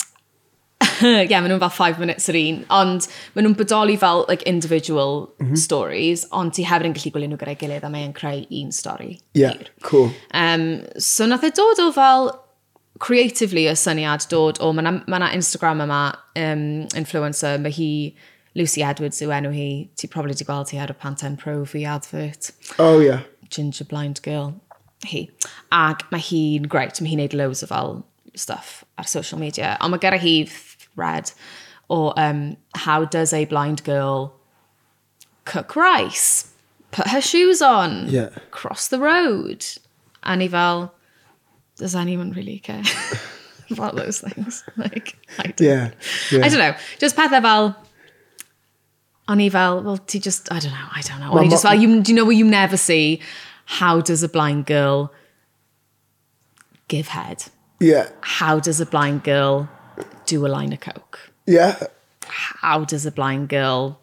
S2: yeah, maen nhw'n fel five minutes yr un. Ond maen nhw'n bodoli fel like, individual
S1: Mhm.
S2: stories. Ond ti hefyd yn gallu gwylio nhw gyda'i gilydd a mae'n creu un stori.
S1: Yeah, cool.
S2: Um, so nath e dod o fel creatively y syniad dod o, mae na, ma na Instagram yma um, influencer, mae hi Lucy Edwards yw enw hi, ti probably di gweld hi ar y Pantene Pro fi advert,
S1: Oh, yeah.
S2: Ginger Blind Girl, hi. Ac mae hi'n great, mae hi'n neud loads o fel stuff ar social media, ond mae gyda hi thread o um, how does a blind girl cook rice, put her shoes on,
S1: Yeah.
S2: cross the road. A ni fel, does anyone really care about those things? Like, I don't.
S1: Yeah. yeah.
S2: I don't know. Just pethau fel, o'n i fel, well, ti just, I don't know, I don't know. O'n
S1: Ma-
S2: i just
S1: ma-
S2: fel, you, do you know what you never see? How does a blind girl give head?
S1: Yeah.
S2: How does a blind girl do a line of coke?
S1: Yeah.
S2: How does a blind girl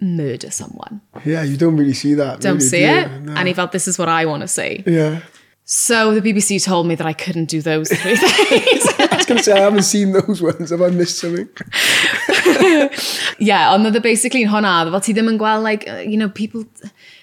S2: murder someone?
S1: Yeah, you don't really see that.
S2: Don't
S1: really,
S2: see
S1: do you?
S2: it.
S1: No.
S2: And he felt this is what I want to see.
S1: yeah.
S2: So the BBC told me that I couldn't do those three things.
S1: I was going to say, I haven't seen those ones. Have I missed something?
S2: yeah, ond oedd e basically yn honna, fel ti ddim yn gweld, like, uh, you know, people,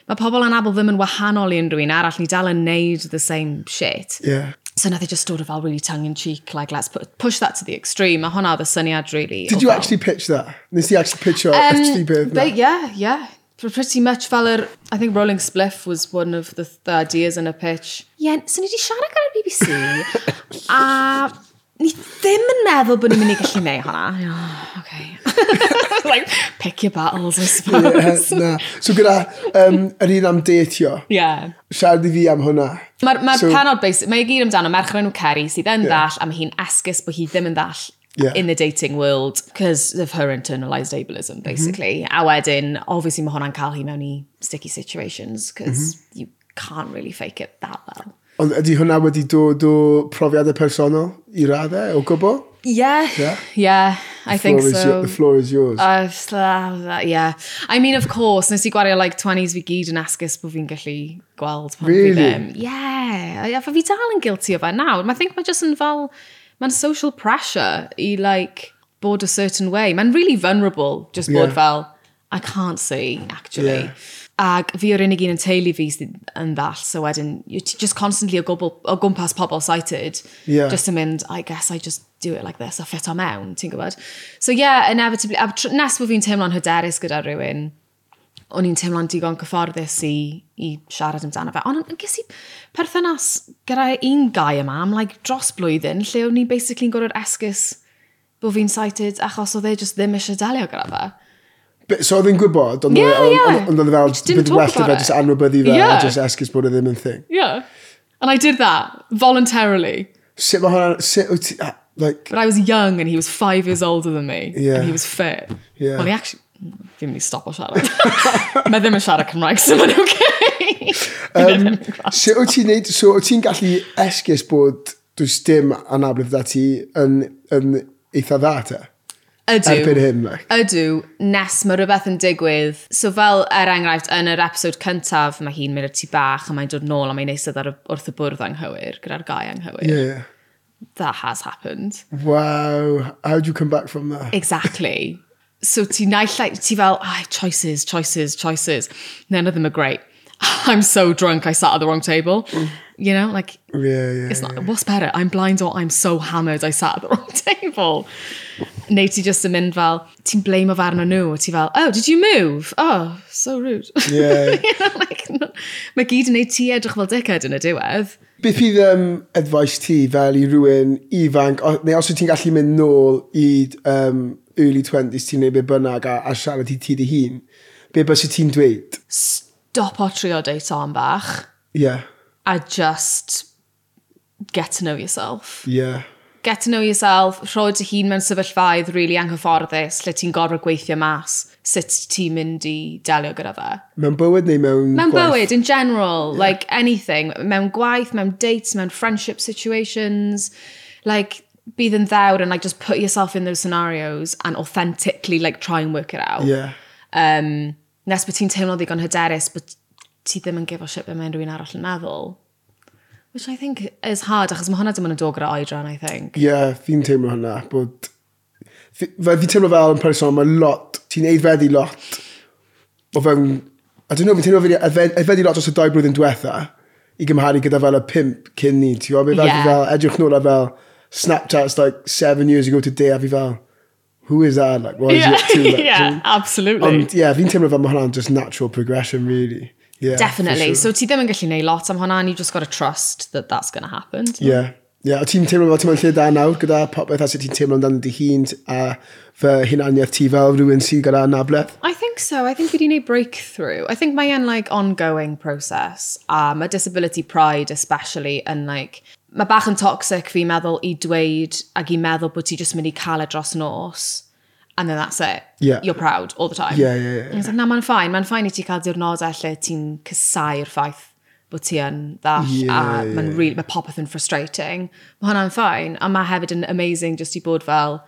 S2: mae pobl yn abel ddim yn wahanol i unrhyw un arall, ni dal yn neud the same shit.
S1: Yeah.
S2: So now they just sort of all really tongue in cheek, like, let's put, push that to the extreme. A honna oedd y syniad, really.
S1: Did
S2: o
S1: you
S2: fel-
S1: actually pitch that? Nes ti actually pitch your
S2: Um,
S1: actually beth
S2: but
S1: na?
S2: yeah, yeah. For pretty much fel yr, I think Rolling Spliff was one of the, the ideas in a pitch. Ie, yeah, so ni di siarad gyda'r BBC, a ni ddim yn meddwl bod ni'n mynd i gallu neud hwnna. Oh, okay. like, pick your battles, I
S1: Yeah,
S2: suppose.
S1: na. So gyda um, yr un am deitio,
S2: yeah.
S1: siarad i fi am hwnna.
S2: Mae'r ma
S1: So-
S2: so, penod basic, mae i gyd amdano merch o'r enw Kerry sydd yn yeah. ddall a mae hi'n esgus bod hi ddim yn ddall
S1: Yeah.
S2: in the dating world because of her internalised
S1: Mm-hmm.
S2: ableism, basically. Mm -hmm. A wedyn, obviously mae hwnna'n cael hi mewn i sticky situations because mm
S1: Mm-hmm.
S2: -hmm. you can't really fake it that well.
S1: Ond ydy hwnna wedi dod o profiadau personol i raddau o gwbl?
S2: Yeah,
S1: Yeah.
S2: yeah, yeah I think
S1: Floor is
S2: so.
S1: your- the floor is yours.
S2: Uh, so, uh, yeah. I mean, of course, nes i gwario like 20s fi gyd yn asgus bod fi'n gallu gweld pan
S1: Really?
S2: fi ddim. Yeah. A fa fi dal yn guilty o fe nawr. I think mae just yn fel, mae'n social pressure i like bod a certain way. Mae'n really vulnerable just bod
S1: Yeah.
S2: fel, I can't see, actually.
S1: Yeah.
S2: Ag fi o'r unig un yn teulu fi sydd yn ddall, so wedyn, you're t- just constantly o, gwbl, o gwmpas pobl sighted,
S1: Yeah.
S2: just to mynd, I guess I just do it like this, a ffit o mewn, ti'n gwybod? So yeah, inevitably, a tr- nes bod fi'n teimlo'n hyderus gyda rhywun, o'n i'n teimlo'n digon cyfforddus i, i siarad amdano fe. Ond yn ges i perthynas gyda un gai yma am like, dros blwyddyn lle o'n i'n basically yn gorau'r esgus bod fi'n sighted achos oedd e just ddim eisiau delio gyda fe.
S1: But, so oedd e'n gwybod, ond
S2: Yeah,
S1: oedd-
S2: yeah.
S1: ond- ond oedd e fel,
S2: Just didn't
S1: bydd
S2: talk
S1: well i
S2: about
S1: fe
S2: it.
S1: jyst anwybyddu fe, a
S2: Yeah.
S1: jyst esgus bod e ddim yn thing.
S2: Yeah. And I did that voluntarily.
S1: Sut mae hwnna, sut wyt ti, ah, like,
S2: But I was young and he was five years older than me.
S1: Yeah.
S2: And he was fit.
S1: Yeah.
S2: Well, he actually... Fi'n mynd i stop o siarad. Mae ddim yn siarad Cymraeg, so mae'n okay. Um,
S1: sut wyt ti'n neud, so wyt ti'n gallu esgus bod dwi'n dim anabledd da ti yn, yn eitha dda te?
S2: Ydw.
S1: Erbyn hyn, like.
S2: Ydw, nes mae rhywbeth yn digwydd. So fel, er enghraifft, yn yr episod cyntaf, mae hi'n mynd i'r tŷ bach a mae'n dod nôl a mae'n eistedd ar y- wrth y bwrdd anghywir, gyda'r gai anghywir.
S1: Yeah.
S2: That has happened.
S1: Wow, how'd you come back from that?
S2: Exactly. So ti naill ai, ti fel, ah, choices, choices, choices. None of them are great. I'm so drunk, I sat at the wrong table. You know, like,
S1: Yeah, yeah.
S2: it's not, what's better? I'm blind or I'm so hammered, I sat at the wrong table. Neu ti just yn mynd fel, ti'n blame of arno nhw, a ti fel, oh, did you move? Oh, so rude.
S1: Yeah.
S2: you know, like, no, mae gyd yn neud ti edrych fel dickhead yn y diwedd.
S1: Beth fydd um, advice ti fel i rhywun ifanc, o- neu os wyt ti'n gallu mynd nôl i um, early 20s ti'n neud be bynnag a, a siarad i ti dy hun, be bys i ti'n dweud?
S2: Dop o trio deud on bach,
S1: Yeah,
S2: a just get to know yourself.
S1: yeah,
S2: get to know yourself, rhoi dy hun mewn sefyllfaedd really anghyfforddus, lle ti'n gorfod gweithio mas, sut ti'n mynd i delio gyda fe.
S1: mewn bywyd neu mewn
S2: Mewn
S1: gwaith?
S2: bywyd, in general, like anything, mewn gwaith, mewn dates, mewn friendship situations, like bydd yn ddewr and like just put yourself in those scenarios and authentically like try and work it out.
S1: Yeah,
S2: Um, nes bod ti'n teimlo ddigon hyderus, bod ti ddim yn gifo shit be mae unrhyw un arall yn meddwl. Which I think is hard, achos mae hwnna dim yn y dod gyda oedran, I think.
S1: yeah, fi'n teimlo hwnna, bod... Fi, fe- fi'n teimlo fel yn person, mae lot, ti'n eidfedu lot o fewn... I don't know, fi'n teimlo fel eidfe- eidfedu lot dros y doi blwyddyn diwetha i gymharu gyda fel y pimp cyn ni, ti'n gwybod? Fel, yeah.
S2: Yeah.
S1: fel edrych nôl a fel Snapchat's like seven years ago today a fi fel, who is that? Like, what is it Um, to? Like,
S2: yeah, absolutely.
S1: Ond, yeah, fi'n teimlo fel mae hwnna'n just natural progression, really. Yeah, for
S2: Definitely.
S1: sure.
S2: So ti ddim yn gallu neud lot am hwnna, and you just got to trust that that's going to happen.
S1: Yeah. Yeah, a ti'n teimlo fel ti'n lle da nawr gyda popeth a sut ti'n teimlo amdano dy hun a fy hunaniaeth ti fel rhywun sydd gyda anabledd.
S2: I think so. I think you need a breakthrough. I think mae yn like ongoing process. A mae disability pride especially yn like, mae bach yn toxic fi meddwl i dweud ac i meddwl bod ti just mynd i cael e dros nos. And then that's it.
S1: Yeah.
S2: You're proud all the time.
S1: Yeah, yeah, yeah.
S2: And it's like, na, mae'n ffain. Mae'n ffain i ti cael diwrnodau lle ti'n casau'r ffaith bod ti yn ddall,
S1: Ie,
S2: yeah, a
S1: ie.
S2: yeah. mae'n really, mae popeth yn frustrating. Mae hwnna'n ffain, a mae hefyd yn amazing just i bod fel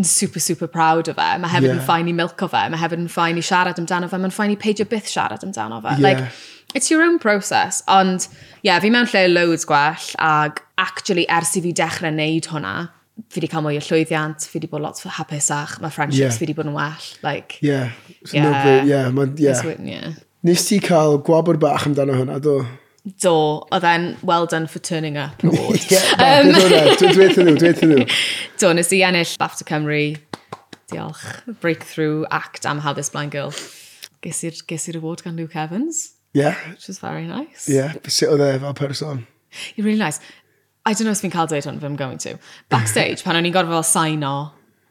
S2: yn super, super proud o fe. Mae hefyd yeah.
S1: Ie.
S2: yn ffain i milco fe, mae hefyd yn ffain i siarad amdano fe, mae'n ffain i peidio byth siarad amdano fe.
S1: Ie.
S2: Like, it's your own process. Ond, ie, yeah, fi mewn lle loads gwell, ag actually ers i fi dechrau neud hwnna, fi wedi cael mwy o llwyddiant, fi wedi bod lot hapusach, mae friendships
S1: Ie.
S2: yeah. fi wedi bod yn well. Like,
S1: Yeah.
S2: Ie.
S1: Yeah. Yeah. ma'n-
S2: It's
S1: Yeah.
S2: written, yeah.
S1: Nes ti cael gwabod bach amdano hwnna, do?
S2: Do, oedd e'n well done for turning up award.
S1: Yeah, um... Dwi'n dweud nhw, dwi'n dweud nhw.
S2: Do, nes i ennill BAFTA Cymru. Diolch. Breakthrough act am How This Blind Girl. Ges i'r ges i'r award gan Luke Evans,
S1: Yeah,
S2: which was very nice.
S1: yeah. Sut oedd e fel person?
S2: You're really nice. I don't know os fi'n cael dweud hwn, but I'm going to. Backstage, pan o'n i'n gorfod fel saino,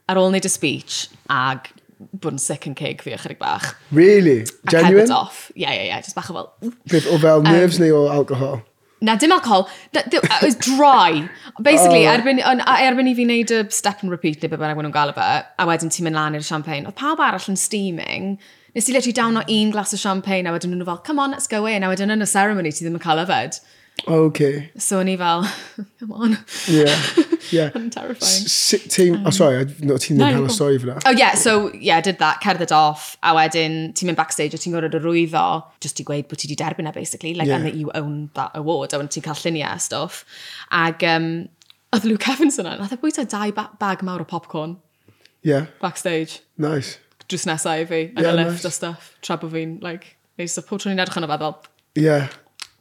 S2: ar ôl wneud y speech, ag bod yn sick and cig fi ychydig bach.
S1: Really?
S2: Ac
S1: Genuine?
S2: headed off. Yeah, yeah, yeah. Just bach o fel... "Ww."
S1: Beth o fel nerves neu o alcohol?
S2: Na, dim alcohol. Na, dim, it was dry. Basically, oh. erbyn, on, a- erbyn i fi wneud y step and repeat, neu beth bynnag maen nhw'n gael o fe, a wedyn ti'n mynd lan i'r champagne, oedd pawb arall yn steaming. Nes i literally down o un glas o champagne, a wedyn nhw fel, come on, let's go in. A wedyn yn y ceremony, ti ddim yn cael yfed.
S1: Okay,
S2: So o'n i fel, come on.
S1: yeah, yeah.
S2: I'm terrifying.
S1: Sut ti'n... Oh, sorry, I- no, ti'n ddim
S2: no,
S1: cael y
S2: go.
S1: stori fyna.
S2: Oh yeah, so yeah, I did that, cerdded off, a wedyn ti'n mynd backstage a ti'n gorfod arwyddo, just i gweud bod ti wedi derbyn e, basically, like,
S1: Yeah.
S2: yeah. and that you own that award, a wedyn ti'n cael lluniau a stuff. Ag, um, oedd Luke Evans yna, nath e bwyta dau ba bag mawr o popcorn
S1: Yeah,
S2: backstage,
S1: nice.
S2: drws nesau i fi, yn
S1: Yeah,
S2: yeah, y lift
S1: nice.
S2: nice. o stuff, tra bod fi'n, like, neis o pob tro'n i'n edrych yn o fe, fel,
S1: Yeah,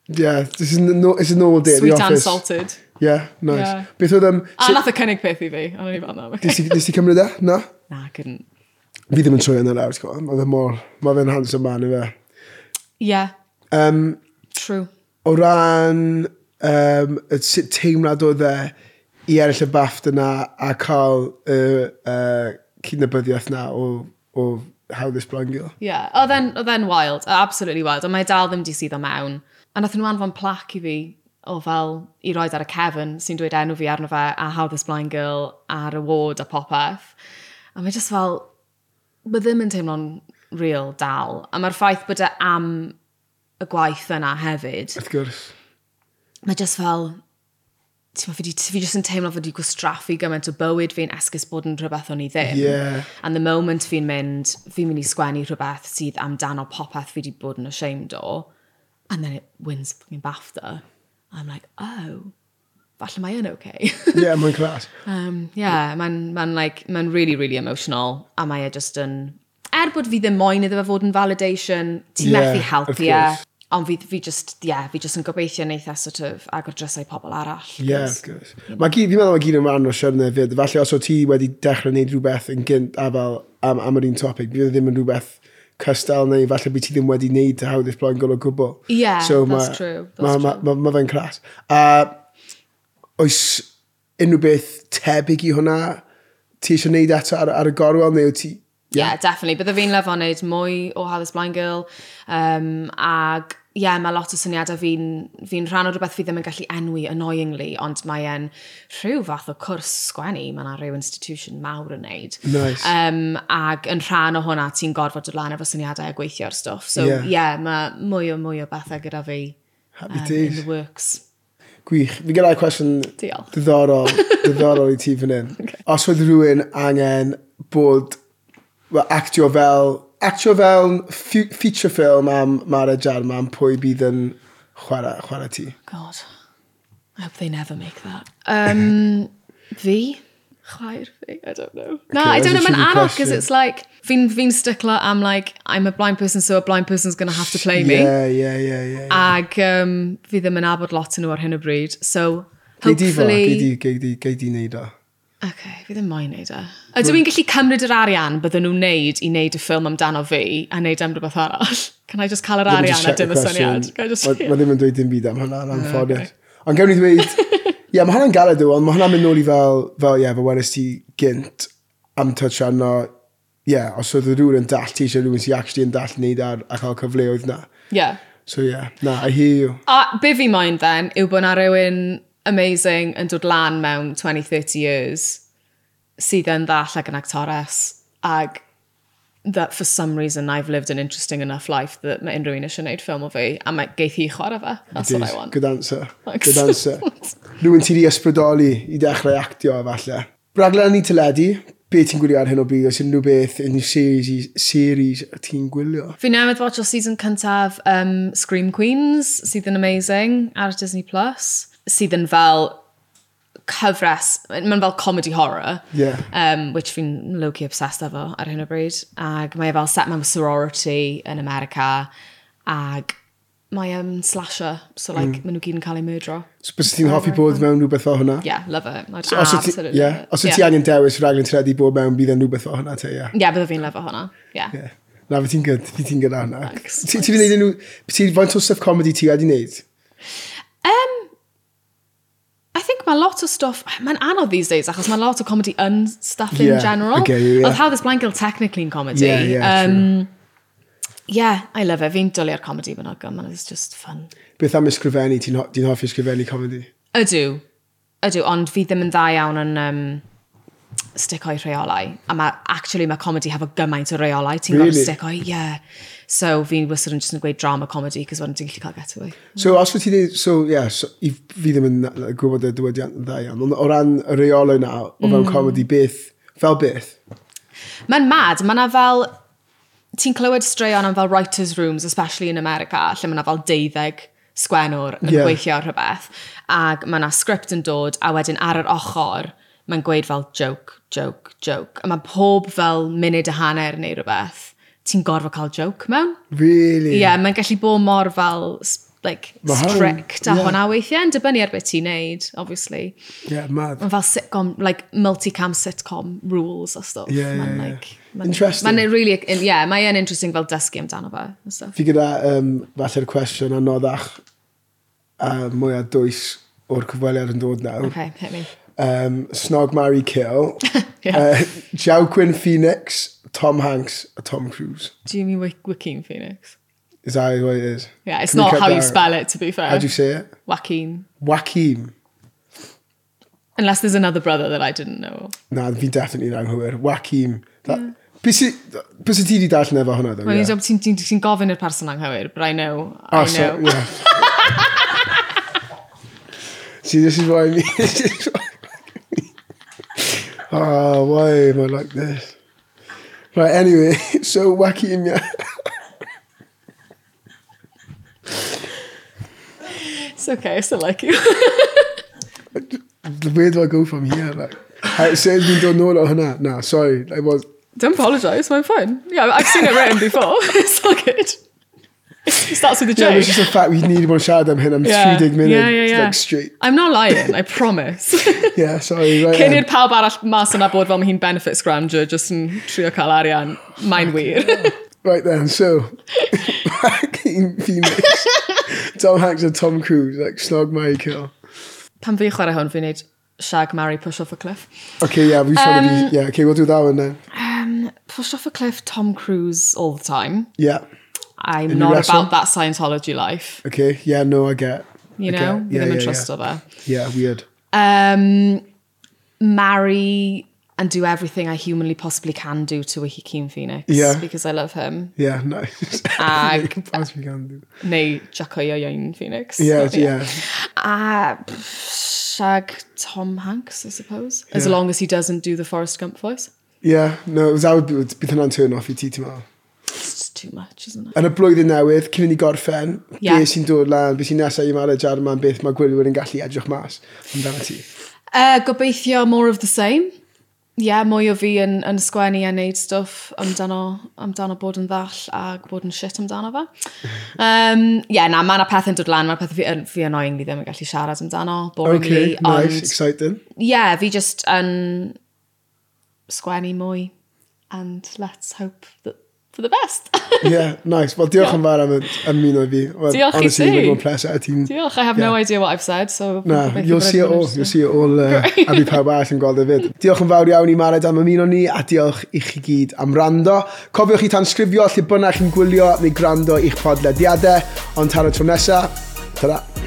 S1: yeah. This is, no, it's a normal day at the
S2: sweet and
S1: office.
S2: salted.
S1: Yeah, nice.
S2: Yeah.
S1: Beth oedd... Um,
S2: A
S1: sut-
S2: nath y cynnig peth i fi, a o'n i fel, no, okay.
S1: Nes ti- nes ti cymryd e? Na?
S2: Na, I couldn't.
S1: Fi ddim yn troi yna lawr, ti'n gwbod? Mae fe mor... Mae fe'n handsome man i fe.
S2: Yeah,
S1: Um,
S2: true.
S1: o ran um, y sut teimlad oedd e i eraill y bafft yna a cael y uh, cydnabyddiaeth na o, o How This Blind Girl.
S2: Yeah, oedd e'n oedd e'n wild, absolutely wild, ond mae dal ddim di sydd o mewn. A nath nhw anfon plac i fi o fel i roed ar y cefn sy'n dweud enw fi arno fe a How This Blind Girl a'r award a popeth. A mae just fel, mae ddim yn teimlo'n real dal. A mae'r ffaith bod e am y gwaith yna hefyd
S1: Wrth gwrs.
S2: mae just fel, ti'n fi, di- fi just yn teimlo fod wedi gwastraffu gymaint o bywyd fi'n esgus bod yn rhywbeth o'n i ddim.
S1: Ie.
S2: And the moment fi'n mynd, fi'n mynd i sgwennu rhywbeth sydd amdano popeth fi wedi bod yn ashamed o, and then it wins fucking BAFTA. I'm like, oh, falle mae yn okay.
S1: Ie, yeah, mae'n clas.
S2: Um, yeah, mae'n ma like, ma really, really emotional. A mae e just yn... Er bod fi ddim moyn iddo fe fod yn validation, ti'n
S1: Yeah,
S2: yeah, methu
S1: of
S2: helpu e.
S1: course.
S2: Ond fi, fi just, yeah, fi just yn gobeithio wneud e sort of agor drysau pobl arall.
S1: Ie, yeah, of course. Mae gyd, fi'n meddwl mae gyd yn rhan o siwrne fyd. Falle os o ti wedi dechrau gwneud rhywbeth yn gynt a fel am, am yr un topic, bydd o ddim yn rhywbeth cystal neu falle byd ti ddim wedi wneud to How This Blind Girl o gwbl.
S2: Ie, that's true, that's
S1: Mae ma,
S2: true.
S1: ma, ma fe'n clas. A oes unrhyw beth tebyg i hwnna ti eisiau gwneud eto ar, ar y gorwel neu wyt ti...
S2: yeah, definitely. Bydde fi'n lyfo wneud mwy o How This Blind Girl. Um, ag, ie, yeah, mae lot o syniadau fi'n fi rhan o rhywbeth fi ddim yn gallu enwi annoyingly, ond mae e'n rhyw fath o cwrs sgwennu. Mae yna rhyw institution mawr yn neud.
S1: Nice.
S2: Um, ag yn rhan o hwnna, ti'n gorfod dod lan efo syniadau a gweithio ar stwff. So, ie,
S1: Ie.
S2: yeah. yeah, mae mwy o mwy o bethau gyda fi
S1: Happy
S2: um, in
S1: days.
S2: the works.
S1: Gwych. Fi gyda'r cwestiwn
S2: Diolch.
S1: diddorol, diddorol i ti fan hyn. Os oedd rhywun angen bod well, actio fel, actio fel fe- feature film am Mara Jarman, pwy bydd yn chwarae, chwarae ti?
S2: God, I hope they never make that. Um, fi? Chwaer fi? I don't know. No,
S1: Okay,
S2: I don't
S1: that's
S2: know.
S1: a
S2: Mae'n
S1: tricky
S2: anodd, because
S1: question.
S2: it's like, fi'n fi stickler am like, I'm a blind person, so a blind person's going to have to play me.
S1: Yeah, yeah, yeah, yeah. yeah.
S2: Ag um, fi ddim yn abod lot yn nhw ar hyn o bryd, so
S1: Gei di fo, gei
S2: hopefully...
S1: di, gei di, gei di neud o.
S2: Okay, fi ddim moyn neud e. Ydw i'n gallu cymryd yr arian bydden nhw'n neud i neud y ffilm amdano fi a neud am rhywbeth arall? Can I just cael yr
S1: Let me just
S2: arian a
S1: check the
S2: dim y syniad?
S1: question.
S2: Can I just... Ah,
S1: Ma- Ma ddim yn dweud dim byd am hwnna, yn anffodus. Ond gewn ni ddweud, ie, mae hwnna'n galed yw, ond mae hwnna'n mynd nôl i fel, fel, ie, fel wedys ti gynt am touch arno, ie, os oedd rhywun yn dall, ti eisiau rhywun sy'n actually yn dall wneud ar a cael cyfleoedd na.
S2: Yeah.
S1: So yeah, na, I hear you.
S2: A be fi moyn then yw bod na rhywun amazing yn dod lan mewn 20-30 years sydd yn ddall ag yn actores ag that for some reason I've lived an interesting enough life that mae unrhyw un eisiau gwneud ffilm o fi a mae geith hi chwarae fe. That's what I want.
S1: Good answer.
S2: Thanks.
S1: Good answer. Rwy'n ti di ysbrydoli i dechrau actio falle. Raglen ni teledu, be ti'n gwylio ar hyn o bryd? Os unrhyw beth yn y series, series ti'n gwylio?
S2: Fi newydd watch o season cyntaf um, Scream Queens, sydd yn amazing ar Disney+. Plus, Sydd yn fel cyfres, mae'n fel comedy horror,
S1: Ie.
S2: um, which fi'n low-key obsessed efo ar hyn o bryd. Ag mae e fel set mewn sorority yn America, ag mae um, slasher, so like, mm. maen nhw gyd yn cael eu murdro.
S1: So, bys ti'n hoffi bod mewn rhywbeth fel hwnna?
S2: Yeah, love it. I'd
S1: Os wyt ti-
S2: absolutely
S1: ie,
S2: love it.
S1: os wyt ti
S2: yeah.
S1: angen dewis rhaglen teledu bod mewn, bydd yn rhywbeth fel hwnna te, ie.
S2: Yeah, bydde fi'n lyfo hwnna. Yeah.
S1: Ie. Na, fe ti'n gyd, fi ti'n gyd arna.
S2: Thanks,
S1: Ti- Ti wedi gwneud unrhyw, ti'n faint o stuff comedy ti wedi gwneud?
S2: Um, I think my lot of stuff, mae'n anodd these days, achos mae lot o comedy yn stuff in
S1: Yeah,
S2: general.
S1: okay, yeah, yeah.
S2: Of how this blind girl technically in comedy.
S1: Yeah, yeah,
S2: um, yeah I love it. Fi'n dwlu ar comedy fan o'r man, it's just fun.
S1: Beth am ysgrifennu, ti'n ho- ti'n hoffi ysgrifennu comedy?
S2: Ydw, ydw, ond fi ddim yn dda iawn yn um, stick o'i rheolau. A mae, actually, mae comedy hefo gymaint o reolau. Ti'n really?
S1: Really?
S2: gorfod stick o'i, yeah. So fi'n wastad yn just yn gweud drama comedy, cos wedyn ti'n gallu cael getaway.
S1: So os wyt ti dweud, so ie, yeah, so, i- fi ddim yn na- gwybod y dywediant yn dda iawn, ond o ran y reolo na, o
S2: Mm.
S1: fewn comedy, beth, fel beth?
S2: Mae'n mad, mae na fel... Ti'n clywed straeon am fel writers' rooms, especially in America, lle mae na fel deuddeg sgwenwr yn
S1: Ie.
S2: yeah. gweithio ar rhywbeth. Ac mae na sgript yn dod, a wedyn ar yr ochr, mae'n gweud fel joke, joke, joke. A mae pob fel munud a hanner neu rhywbeth, ti'n gorfod cael joke mewn.
S1: Really?
S2: Ie, yeah, mae'n gallu bod mor fel s- like,
S1: Ma' hwn-
S2: strict a
S1: ie.
S2: hwnna weithiau, yn dibynnu ar beth ti'n neud, obviously.
S1: Yeah, mad.
S2: Mae'n fel sitcom, like multi-cam sitcom rules a stuff.
S1: Yeah, yeah,
S2: Ma'n,
S1: yeah.
S2: like, ma'n-
S1: Interesting.
S2: Mae'n really, yeah, mae'n interesting fel dysgu amdano fe. a stuff.
S1: Fi gyda, um, falle'r cwestiwn anoddach, a mwy a dwys o'r cyfweliad yn dod nawr.
S2: Okay, hit me.
S1: Um, Snog, Marry, Kill. uh,
S2: Yeah.
S1: Joaquin Phoenix, Tom Hanks, a Tom Cruise.
S2: Jimmy Wick- Joaquin Phoenix.
S1: Is that what it is?
S2: Yeah, it's
S1: Can we
S2: not
S1: cut
S2: how
S1: that
S2: you
S1: out?
S2: spell it, to be fair.
S1: How do you say it?
S2: Joaquin.
S1: Joaquin.
S2: Unless there's another brother that I didn't know.
S1: Na, fi definitely yn anghywir. Joaquin. That... Yeah. Bys y ti di darllen efo hwnna, ddo?
S2: Mae'n yeah. ti'n ti, ti gofyn i'r person anghywir, but I know, I know.
S1: Oh, so, yeah. See, this is what I mean. This is what I mean. oh, why am I like this? Right, anyway, so wacky in ya.
S2: It's okay, I still like you.
S1: Where do I go from here? Like, I said we don't know that hana. Nah, sorry, I was.
S2: Don't apologise, I'm fine. Yeah, I've seen it written before. it's all good. It starts with a
S1: Yeah,
S2: joke.
S1: it's just a fact we need one shot them him. I'm yeah. three dig minute.
S2: Yeah, yeah, yeah.
S1: Like straight.
S2: I'm not lying, I promise.
S1: Yeah, sorry. Right.
S2: Cyn
S1: um,
S2: i'r pawb arall mas yna bod fel mae hi'n benefits grander, jyst yn trio cael arian. Mae'n wir.
S1: Right then, so Joaquin Phoenix, Tom Hanks and Tom Cruise, like snog my kill.
S2: Pan fi chwarae hwn, fi'n neud shag marry push off a cliff.
S1: Okay, yeah, we're trying to be. Yeah, okay, we'll do that one then.
S2: Um, push off a cliff, Tom Cruise all the time.
S1: Yeah.
S2: I'm
S1: you
S2: not
S1: wrestle?
S2: about that Scientology life,
S1: Okay. Yeah. No, I get.
S2: you
S1: I
S2: know?
S1: get.
S2: Yeah,
S1: Yeah,
S2: ddim yn
S1: yeah,
S2: trust o fe.
S1: yeah. yeah. Weird.
S2: Um, marry and do everything I humanly possibly can do to Joaquin Phoenix.
S1: Yeah.
S2: Because I love him.
S1: Yeah. Nice.
S2: Ag-
S1: As we can do.
S2: Neu Jaco Ioion Phoenix.
S1: Yeah. Yeah.
S2: Uh, shag Tom Hanks, I suppose. As
S1: Yeah.
S2: long as he doesn't do the Forrest Gump voice.
S1: Yeah. No, that would be bydd hwnna'n turn off i ti ti'n meddwl.
S2: It's just too much, isn't it?
S1: Yn y blwyddyn newydd, cyn i ni gorffen,
S2: Yeah.
S1: yeah. beth sy'n dod lan, beth sy'n nesaf i Mara Jarman, beth mae gwylwyr yn gallu edrych mas amdano ti.
S2: Uh, gobeithio more of the same. Yeah, mwy o fi yn, yn sgwennu a neud stwff amdano, amdano bod yn ddall a bod yn shit amdano fe. Um, yeah, na, mae yna peth yn dod lan, mae peth fi yn fi annoyingly ddim yn gallu siarad amdano, boringly,
S1: Okay, nice,
S2: ond
S1: exciting.
S2: yeah, fi just yn sgwennu mwy and let's hope that for the best.
S1: Yeah, nice. Wel, diolch yn fawr am y- ymuno i fi. Well,
S2: Diolch i
S1: honestly,
S2: ti.
S1: Honestly, mae'n pleser a ti'n...
S2: Diolch, I have no
S1: Yeah.
S2: idea what I've said, so...
S1: Na,
S2: gobeithio
S1: you'll
S2: bod
S1: see it
S2: everyone
S1: all, you'll see it all uh, a bydd pawb arall yn gweld hefyd. Diolch yn fawr iawn i Mared am ymuno ni a diolch i chi gyd am rando. Cofiwch i tansgrifio lle bynnag chi'n gwylio neu gwrando i'ch podlediadau, ond tan y tro nesaf, ta-da!